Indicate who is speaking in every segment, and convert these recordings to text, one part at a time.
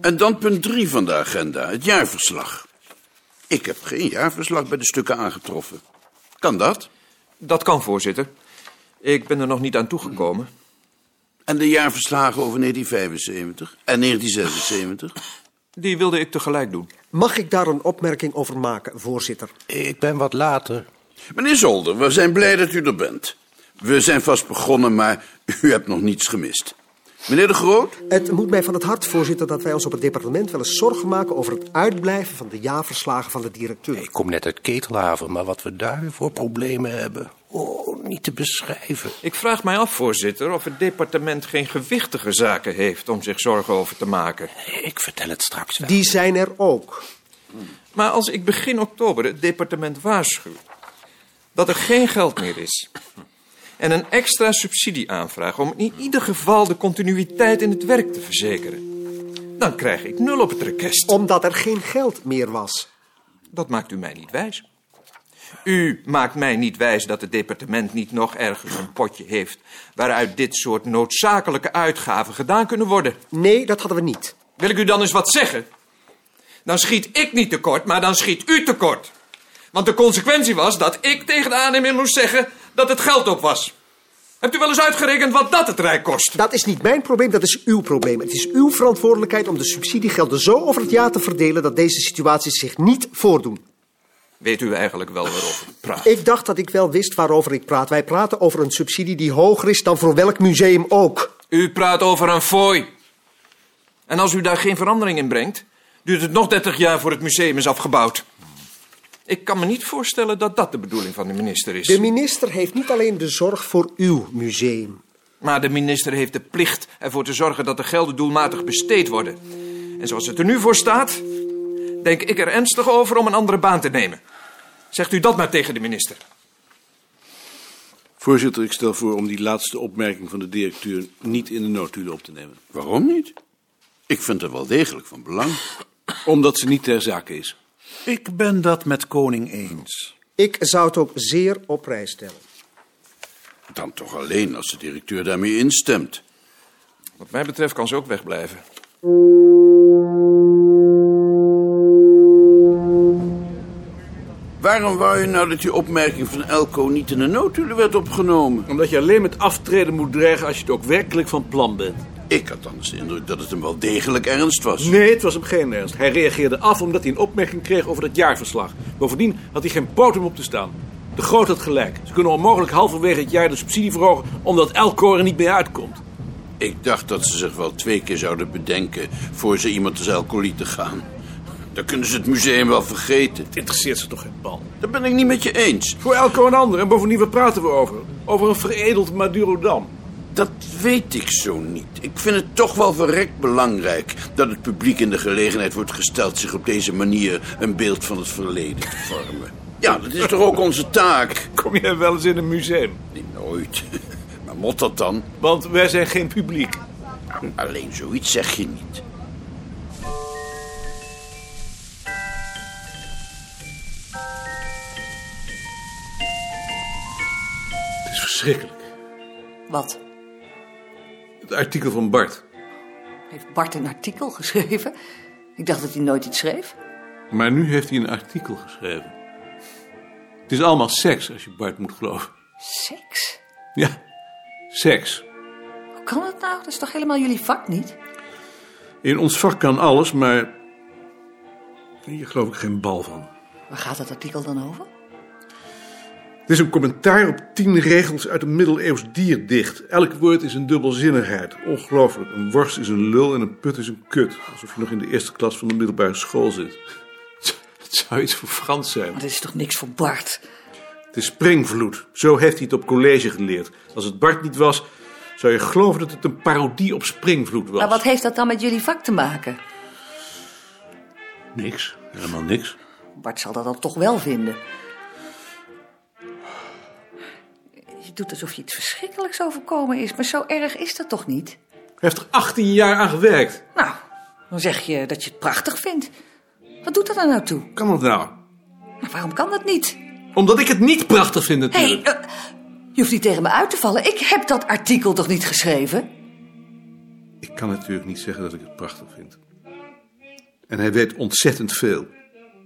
Speaker 1: En dan punt drie van de agenda, het jaarverslag. Ik heb geen jaarverslag bij de stukken aangetroffen. Kan dat?
Speaker 2: Dat kan, voorzitter. Ik ben er nog niet aan toegekomen.
Speaker 1: En de jaarverslagen over 1975 en 1976?
Speaker 2: Die wilde ik tegelijk doen.
Speaker 3: Mag ik daar een opmerking over maken, voorzitter?
Speaker 4: Ik ben wat later.
Speaker 1: Meneer Zolder, we zijn blij dat u er bent. We zijn vast begonnen, maar u hebt nog niets gemist. Meneer de Groot?
Speaker 3: Het moet mij van het hart, voorzitter, dat wij ons op het departement wel eens zorgen maken over het uitblijven van de jaarverslagen van de directeur.
Speaker 4: Ik kom net uit Ketelhaven, maar wat we daar weer voor problemen hebben. Oh, niet te beschrijven.
Speaker 2: Ik vraag mij af, voorzitter, of het departement geen gewichtige zaken heeft om zich zorgen over te maken.
Speaker 4: Ik vertel het straks wel.
Speaker 3: Die zijn er ook.
Speaker 2: Maar als ik begin oktober het departement waarschuw dat er geen geld meer is en een extra subsidie aanvraag om in ieder geval de continuïteit in het werk te verzekeren, dan krijg ik nul op het rekest.
Speaker 3: Omdat er geen geld meer was.
Speaker 2: Dat maakt u mij niet wijs. U maakt mij niet wijs dat het departement niet nog ergens een potje heeft waaruit dit soort noodzakelijke uitgaven gedaan kunnen worden.
Speaker 3: Nee, dat hadden we niet.
Speaker 2: Wil ik u dan eens wat zeggen? Dan schiet ik niet tekort, maar dan schiet u tekort. Want de consequentie was dat ik tegen de aannemer moest zeggen dat het geld op was. Hebt u wel eens uitgerekend wat dat het Rijk kost?
Speaker 3: Dat is niet mijn probleem, dat is uw probleem. Het is uw verantwoordelijkheid om de subsidiegelden zo over het jaar te verdelen dat deze situaties zich niet voordoen.
Speaker 2: Weet u eigenlijk wel waarover ik praat?
Speaker 3: Ik dacht dat ik wel wist waarover ik praat. Wij praten over een subsidie die hoger is dan voor welk museum ook.
Speaker 2: U praat over een fooi. En als u daar geen verandering in brengt, duurt het nog 30 jaar voor het museum is afgebouwd. Ik kan me niet voorstellen dat dat de bedoeling van de minister is.
Speaker 3: De minister heeft niet alleen de zorg voor uw museum.
Speaker 2: Maar de minister heeft de plicht ervoor te zorgen dat de gelden doelmatig besteed worden. En zoals het er nu voor staat, denk ik er ernstig over om een andere baan te nemen. Zegt u dat maar tegen de minister.
Speaker 5: Voorzitter, ik stel voor om die laatste opmerking van de directeur niet in de noodhulen op te nemen.
Speaker 1: Waarom niet? Ik vind er wel degelijk van belang.
Speaker 5: Omdat ze niet ter zake is.
Speaker 6: Ik ben dat met koning eens.
Speaker 3: Ik zou het ook zeer op prijs stellen.
Speaker 1: Dan toch alleen als de directeur daarmee instemt.
Speaker 2: Wat mij betreft kan ze ook wegblijven.
Speaker 1: Waarom wou je nou dat die opmerking van Elko niet in de noodhulen werd opgenomen?
Speaker 5: Omdat je alleen met aftreden moet dreigen als je het ook werkelijk van plan bent.
Speaker 1: Ik had anders de indruk dat het hem wel degelijk ernst was.
Speaker 5: Nee, het was hem geen ernst. Hij reageerde af omdat hij een opmerking kreeg over dat jaarverslag. Bovendien had hij geen poot om op te staan. De Groot had gelijk. Ze kunnen onmogelijk halverwege het jaar de subsidie verhogen omdat Elko er niet bij uitkomt.
Speaker 1: Ik dacht dat ze zich wel twee keer zouden bedenken voor ze iemand als Elko lieten gaan. Dan kunnen ze het museum wel vergeten.
Speaker 5: Het interesseert ze toch geen bal.
Speaker 1: Dat ben ik niet met je eens.
Speaker 5: Voor Elko een ander. En bovendien, waar praten we over? Over een veredeld Madurodam.
Speaker 1: Dat weet ik zo niet. Ik vind het toch wel verrekt belangrijk dat het publiek in de gelegenheid wordt gesteld zich op deze manier een beeld van het verleden te vormen. Ja, dat is toch ook onze taak?
Speaker 5: Kom jij wel eens in een museum?
Speaker 1: Nee, nooit. Maar mot dat dan?
Speaker 5: Want wij zijn geen publiek.
Speaker 1: Alleen zoiets zeg je niet.
Speaker 5: Het is verschrikkelijk.
Speaker 7: Wat?
Speaker 5: Het artikel van Bart.
Speaker 7: Heeft Bart een artikel geschreven? Ik dacht dat hij nooit iets schreef.
Speaker 5: Maar nu heeft hij een artikel geschreven. Het is allemaal seks, als je Bart moet geloven.
Speaker 7: Seks?
Speaker 5: Ja, seks.
Speaker 7: Hoe kan dat nou? Dat is toch helemaal jullie vak niet?
Speaker 5: In ons vak kan alles, maar. Hier geloof ik geen bal van.
Speaker 7: Waar gaat dat artikel dan over?
Speaker 5: Het is een commentaar op tien regels uit een middeleeuws dierdicht. Elk woord is een dubbelzinnigheid. Ongelooflijk. Een worst is een lul en een put is een kut. Alsof je nog in de eerste klas van de middelbare school zit. Het zou iets voor Frans zijn.
Speaker 7: Maar dat is toch niks voor Bart?
Speaker 5: Het is springvloed. Zo heeft hij het op college geleerd. Als het Bart niet was, zou je geloven dat het een parodie op springvloed was.
Speaker 7: Maar wat heeft dat dan met jullie vak te maken?
Speaker 5: Niks. Helemaal niks.
Speaker 7: Bart zal dat dan toch wel vinden. Je doet alsof je iets verschrikkelijks overkomen is, maar zo erg is dat toch niet?
Speaker 5: Hij heeft er 18 jaar aan gewerkt.
Speaker 7: Nou, dan zeg je dat je het prachtig vindt. Wat doet dat er nou toe?
Speaker 5: Kan dat nou?
Speaker 7: Nou, waarom kan dat niet?
Speaker 5: Omdat ik het niet prachtig vind
Speaker 7: Hé,
Speaker 5: natuurlijk.
Speaker 7: eh, je hoeft niet tegen me uit te vallen. Ik heb dat artikel toch niet geschreven?
Speaker 5: Ik kan natuurlijk niet zeggen dat ik het prachtig vind. En hij weet ontzettend veel.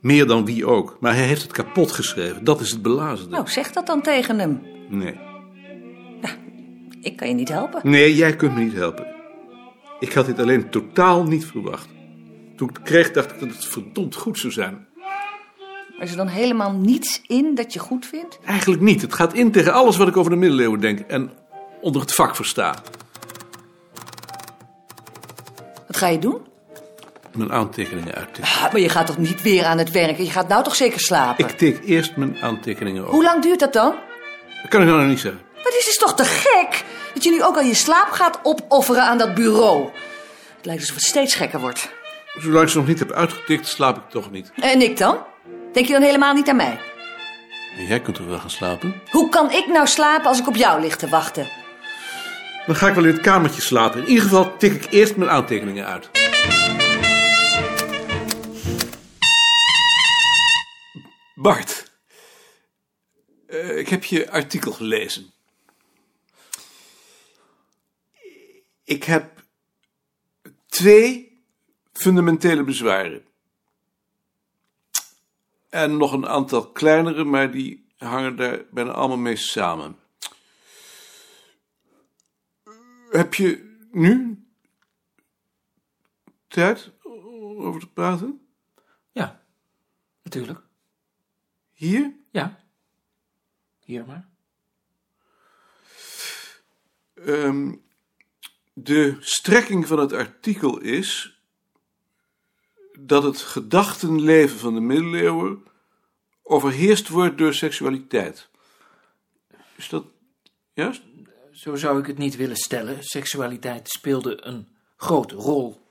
Speaker 5: Meer dan wie ook. Maar hij heeft het kapot geschreven. Dat is het belazende.
Speaker 7: Nou, zeg dat dan tegen hem.
Speaker 5: Nee.
Speaker 7: Ik kan je niet helpen.
Speaker 5: Nee, jij kunt me niet helpen. Ik had dit alleen totaal niet verwacht. Toen ik het kreeg, dacht ik dat het verdomd goed zou zijn.
Speaker 7: Er is er dan helemaal niets in dat je goed vindt?
Speaker 5: Eigenlijk niet. Het gaat in tegen alles wat ik over de middeleeuwen denk en onder het vak versta.
Speaker 7: Wat ga je doen?
Speaker 5: Mijn aantekeningen uittikken.
Speaker 7: Ah, Maar je gaat toch niet weer aan het werk? Je gaat nou toch zeker slapen?
Speaker 5: Ik tik eerst mijn aantekeningen over.
Speaker 7: Hoe lang duurt dat dan?
Speaker 5: Dat kan ik nou nog niet zeggen.
Speaker 7: Maar dit is toch te gek? Dat je nu ook al je slaap gaat opofferen aan dat bureau. Het lijkt alsof het steeds gekker wordt.
Speaker 5: Zolang ik ze nog niet heb uitgetikt, slaap ik toch niet.
Speaker 7: En ik dan? Denk je dan helemaal niet aan mij?
Speaker 5: Jij kunt er wel gaan slapen.
Speaker 7: Hoe kan ik nou slapen als ik op jou lig te wachten?
Speaker 5: Dan ga ik wel in het kamertje slapen. In ieder geval tik ik eerst mijn aantekeningen uit.
Speaker 8: Bart, eh, ik heb je artikel gelezen. Ik heb twee fundamentele bezwaren. En nog een aantal kleinere, maar die hangen daar bijna allemaal mee samen. Heb je nu tijd om over te praten?
Speaker 9: Ja, natuurlijk.
Speaker 8: Hier?
Speaker 9: Ja. Hier maar.
Speaker 8: Ehm, de strekking van het artikel is dat het gedachtenleven van de middeleeuwen overheerst wordt door seksualiteit. Is dat juist?
Speaker 9: Zo zou ik het niet willen stellen. Seksualiteit speelde een grote rol.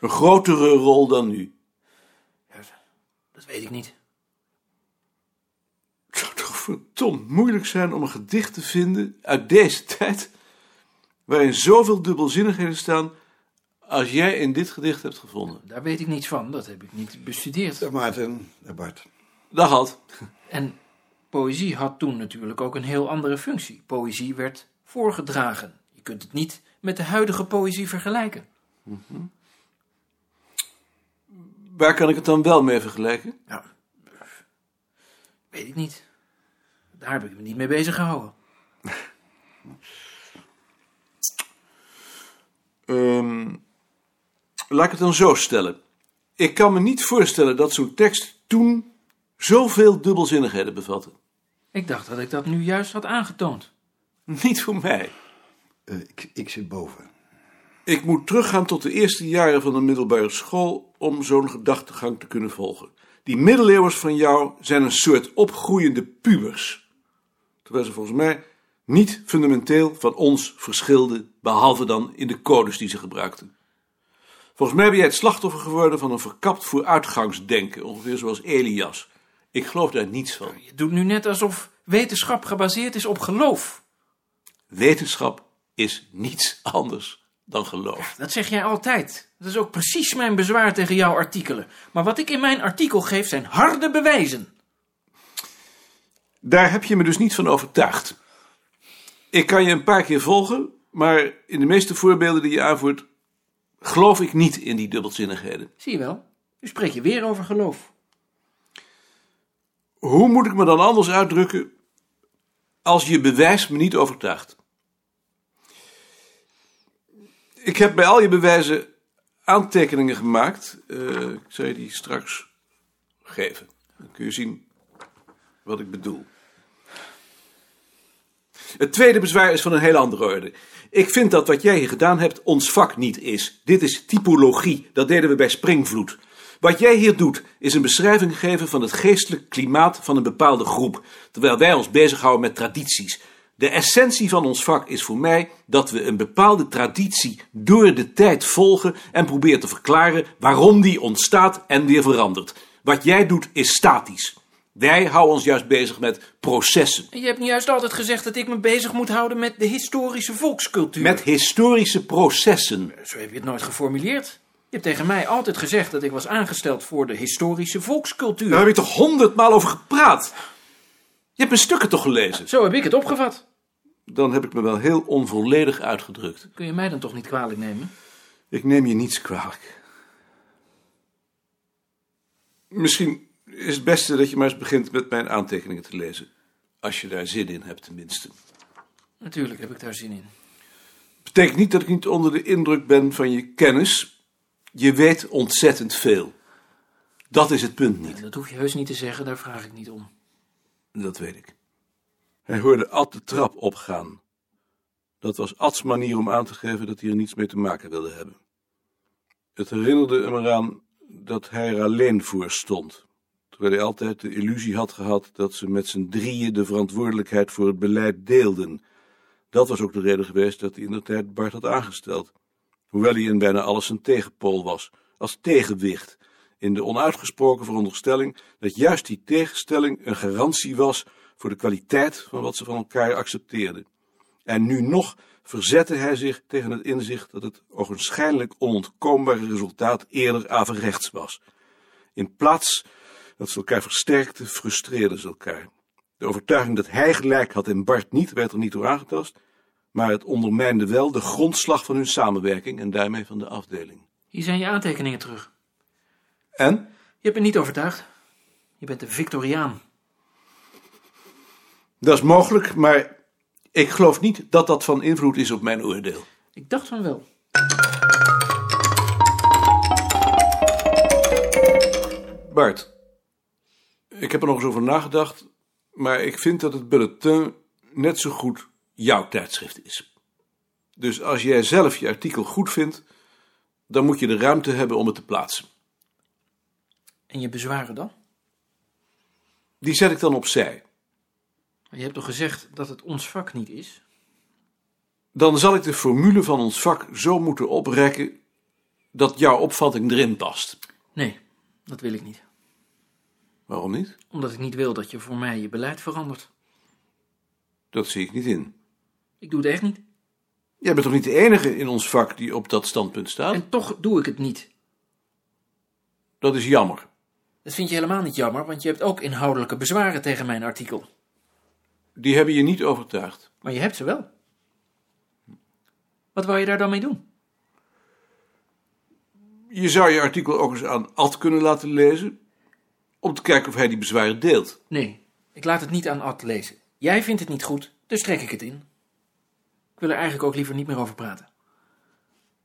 Speaker 8: Een grotere rol dan nu.
Speaker 9: Dat weet ik niet.
Speaker 8: Het zou toch verdomd moeilijk zijn om een gedicht te vinden uit deze tijd, waarin zoveel dubbelzinnigheden staan, als jij in dit gedicht hebt gevonden.
Speaker 9: Daar weet ik niets van. Dat heb ik niet bestudeerd.
Speaker 6: Maarten, Bart.
Speaker 8: Dag had.
Speaker 9: En poëzie had toen natuurlijk ook een heel andere functie. Poëzie werd voorgedragen. Je kunt het niet met de huidige poëzie vergelijken.
Speaker 8: Mhm. Waar kan ik het dan wel mee vergelijken?
Speaker 9: Nou, weet ik niet. Daar heb ik me niet mee bezig gehouden.
Speaker 8: Ehm, laat ik het dan zo stellen. Ik kan me niet voorstellen dat zo'n tekst toen zoveel dubbelzinnigheden bevatte.
Speaker 9: Ik dacht dat ik dat nu juist had aangetoond.
Speaker 8: Niet voor mij.
Speaker 6: Eh, ik, ik zit boven.
Speaker 8: Ik moet teruggaan tot de eerste jaren van de middelbare school om zo'n gedachtegang te kunnen volgen. Die middeleeuwers van jou zijn een soort opgroeiende pubers. Terwijl ze volgens mij niet fundamenteel van ons verschilden, behalve dan in de codes die ze gebruikten. Volgens mij ben jij het slachtoffer geworden van een verkapt vooruitgangsdenken, ongeveer zoals Elias. Ik geloof daar niets van.
Speaker 9: Je doet nu net alsof wetenschap gebaseerd is op geloof.
Speaker 8: Wetenschap is niets anders dan geloof.
Speaker 9: Dat zeg jij altijd. Dat is ook precies mijn bezwaar tegen jouw artikelen. Maar wat ik in mijn artikel geef zijn harde bewijzen.
Speaker 8: Daar heb je me dus niet van overtuigd. Ik kan je een paar keer volgen, maar in de meeste voorbeelden die je aanvoert, geloof ik niet in die dubbelzinnigheden.
Speaker 9: Zie je wel? Nu spreek je weer over geloof.
Speaker 8: Hoe moet ik me dan anders uitdrukken als je bewijs me niet overtuigt? Ik heb bij al je bewijzen aantekeningen gemaakt. Eh, ik zal je die straks geven. Dan kun je zien wat ik bedoel. Het tweede bezwaar is van een heel andere orde. Ik vind dat wat jij hier gedaan hebt ons vak niet is. Dit is typologie, dat deden we bij Springvloed. Wat jij hier doet is een beschrijving geven van het geestelijk klimaat van een bepaalde groep, terwijl wij ons bezighouden met tradities. De essentie van ons vak is voor mij dat we een bepaalde traditie door de tijd volgen en proberen te verklaren waarom die ontstaat en weer verandert. Wat jij doet is statisch. Wij houden ons juist bezig met processen.
Speaker 9: En je hebt nu juist altijd gezegd dat ik me bezig moet houden met de historische volkscultuur.
Speaker 8: Met historische processen.
Speaker 9: Zo heb je het nooit geformuleerd. Je hebt tegen mij altijd gezegd dat ik was aangesteld voor de historische volkscultuur.
Speaker 8: Daar heb ik toch honderdmaal over gepraat. Je hebt mijn stukken toch gelezen?
Speaker 9: Zo heb ik het opgevat.
Speaker 8: Dan heb ik me wel heel onvolledig uitgedrukt.
Speaker 9: Kun je mij dan toch niet kwalijk nemen?
Speaker 8: Ik neem je niets kwalijk. Misschien is het beste dat je maar eens begint met mijn aantekeningen te lezen. Als je daar zin in hebt, tenminste.
Speaker 9: Natuurlijk heb ik daar zin in.
Speaker 8: Betekent niet dat ik niet onder de indruk ben van je kennis. Je weet ontzettend veel. Dat is het punt niet.
Speaker 9: Dat hoef je heus niet te zeggen, daar vraag ik niet om.
Speaker 8: Dat weet ik. Hij hoorde Ad de trap opgaan. Dat was Ads manier om aan te geven dat hij er niets mee te maken wilde hebben. Het herinnerde hem eraan dat hij er alleen voor stond. Terwijl hij altijd de illusie had gehad dat ze met z'n drieën de verantwoordelijkheid voor het beleid deelden. Dat was ook de reden geweest dat hij in de tijd Bart had aangesteld. Hoewel hij in bijna alles een tegenpool was, als tegenwicht. In de onuitgesproken veronderstelling dat juist die tegenstelling een garantie was voor de kwaliteit van wat ze van elkaar accepteerden. En nu nog verzette hij zich tegen het inzicht dat het ogenschijnlijk onontkoombare resultaat eerder averechts was. In plaats dat ze elkaar versterkten, frustreerden ze elkaar. De overtuiging dat hij gelijk had en Bart niet, werd er niet door aangetast, maar het ondermijnde wel de grondslag van hun samenwerking en daarmee van de afdeling.
Speaker 9: Hier zijn je aantekeningen terug.
Speaker 8: En?
Speaker 9: Je hebt me niet overtuigd. Je bent een Victoriaan.
Speaker 8: Dat is mogelijk, maar ik geloof niet dat dat van invloed is op mijn oordeel.
Speaker 9: Ik dacht van wel.
Speaker 8: Bart, ik heb er nog eens over nagedacht, maar ik vind dat het bulletin net zo goed jouw tijdschrift is. Dus als jij zelf je artikel goed vindt, dan moet je de ruimte hebben om het te plaatsen.
Speaker 9: En je bezwaren dan?
Speaker 8: Die zet ik dan opzij.
Speaker 9: Je hebt toch gezegd dat het ons vak niet is?
Speaker 8: Dan zal ik de formule van ons vak zo moeten oprekken dat jouw opvatting erin past.
Speaker 9: Nee, dat wil ik niet.
Speaker 8: Waarom niet?
Speaker 9: Omdat ik niet wil dat je voor mij je beleid verandert.
Speaker 8: Dat zie ik niet in.
Speaker 9: Ik doe het echt niet.
Speaker 8: Jij bent toch niet de enige in ons vak die op dat standpunt staat?
Speaker 9: En toch doe ik het niet.
Speaker 8: Dat is jammer.
Speaker 9: Dat vind je helemaal niet jammer, want je hebt ook inhoudelijke bezwaren tegen mijn artikel.
Speaker 8: Die hebben je niet overtuigd.
Speaker 9: Maar je hebt ze wel. Wat wou je daar dan mee doen?
Speaker 8: Je zou je artikel ook eens aan Ad kunnen laten lezen, om te kijken of hij die bezwaren deelt.
Speaker 9: Nee, ik laat het niet aan Ad lezen. Jij vindt het niet goed, dus trek ik het in. Ik wil er eigenlijk ook liever niet meer over praten.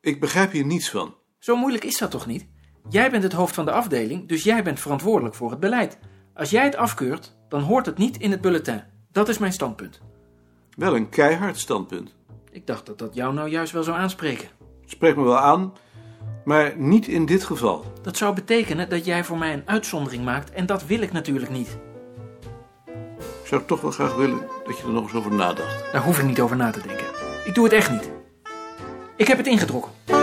Speaker 8: Ik begrijp hier niets van.
Speaker 9: Zo moeilijk is dat toch niet? Jij bent het hoofd van de afdeling, dus jij bent verantwoordelijk voor het beleid. Als jij het afkeurt, dan hoort het niet in het bulletin. Dat is mijn standpunt.
Speaker 8: Wel een keihard standpunt.
Speaker 9: Ik dacht dat dat jou nou juist wel zou aanspreken.
Speaker 8: Spreek me wel aan, maar niet in dit geval.
Speaker 9: Dat zou betekenen dat jij voor mij een uitzondering maakt en dat wil ik natuurlijk niet.
Speaker 8: Ik zou toch wel graag willen dat je er nog eens over nadacht.
Speaker 9: Daar hoef ik niet over na te denken. Ik doe het echt niet. Ik heb het ingetrokken.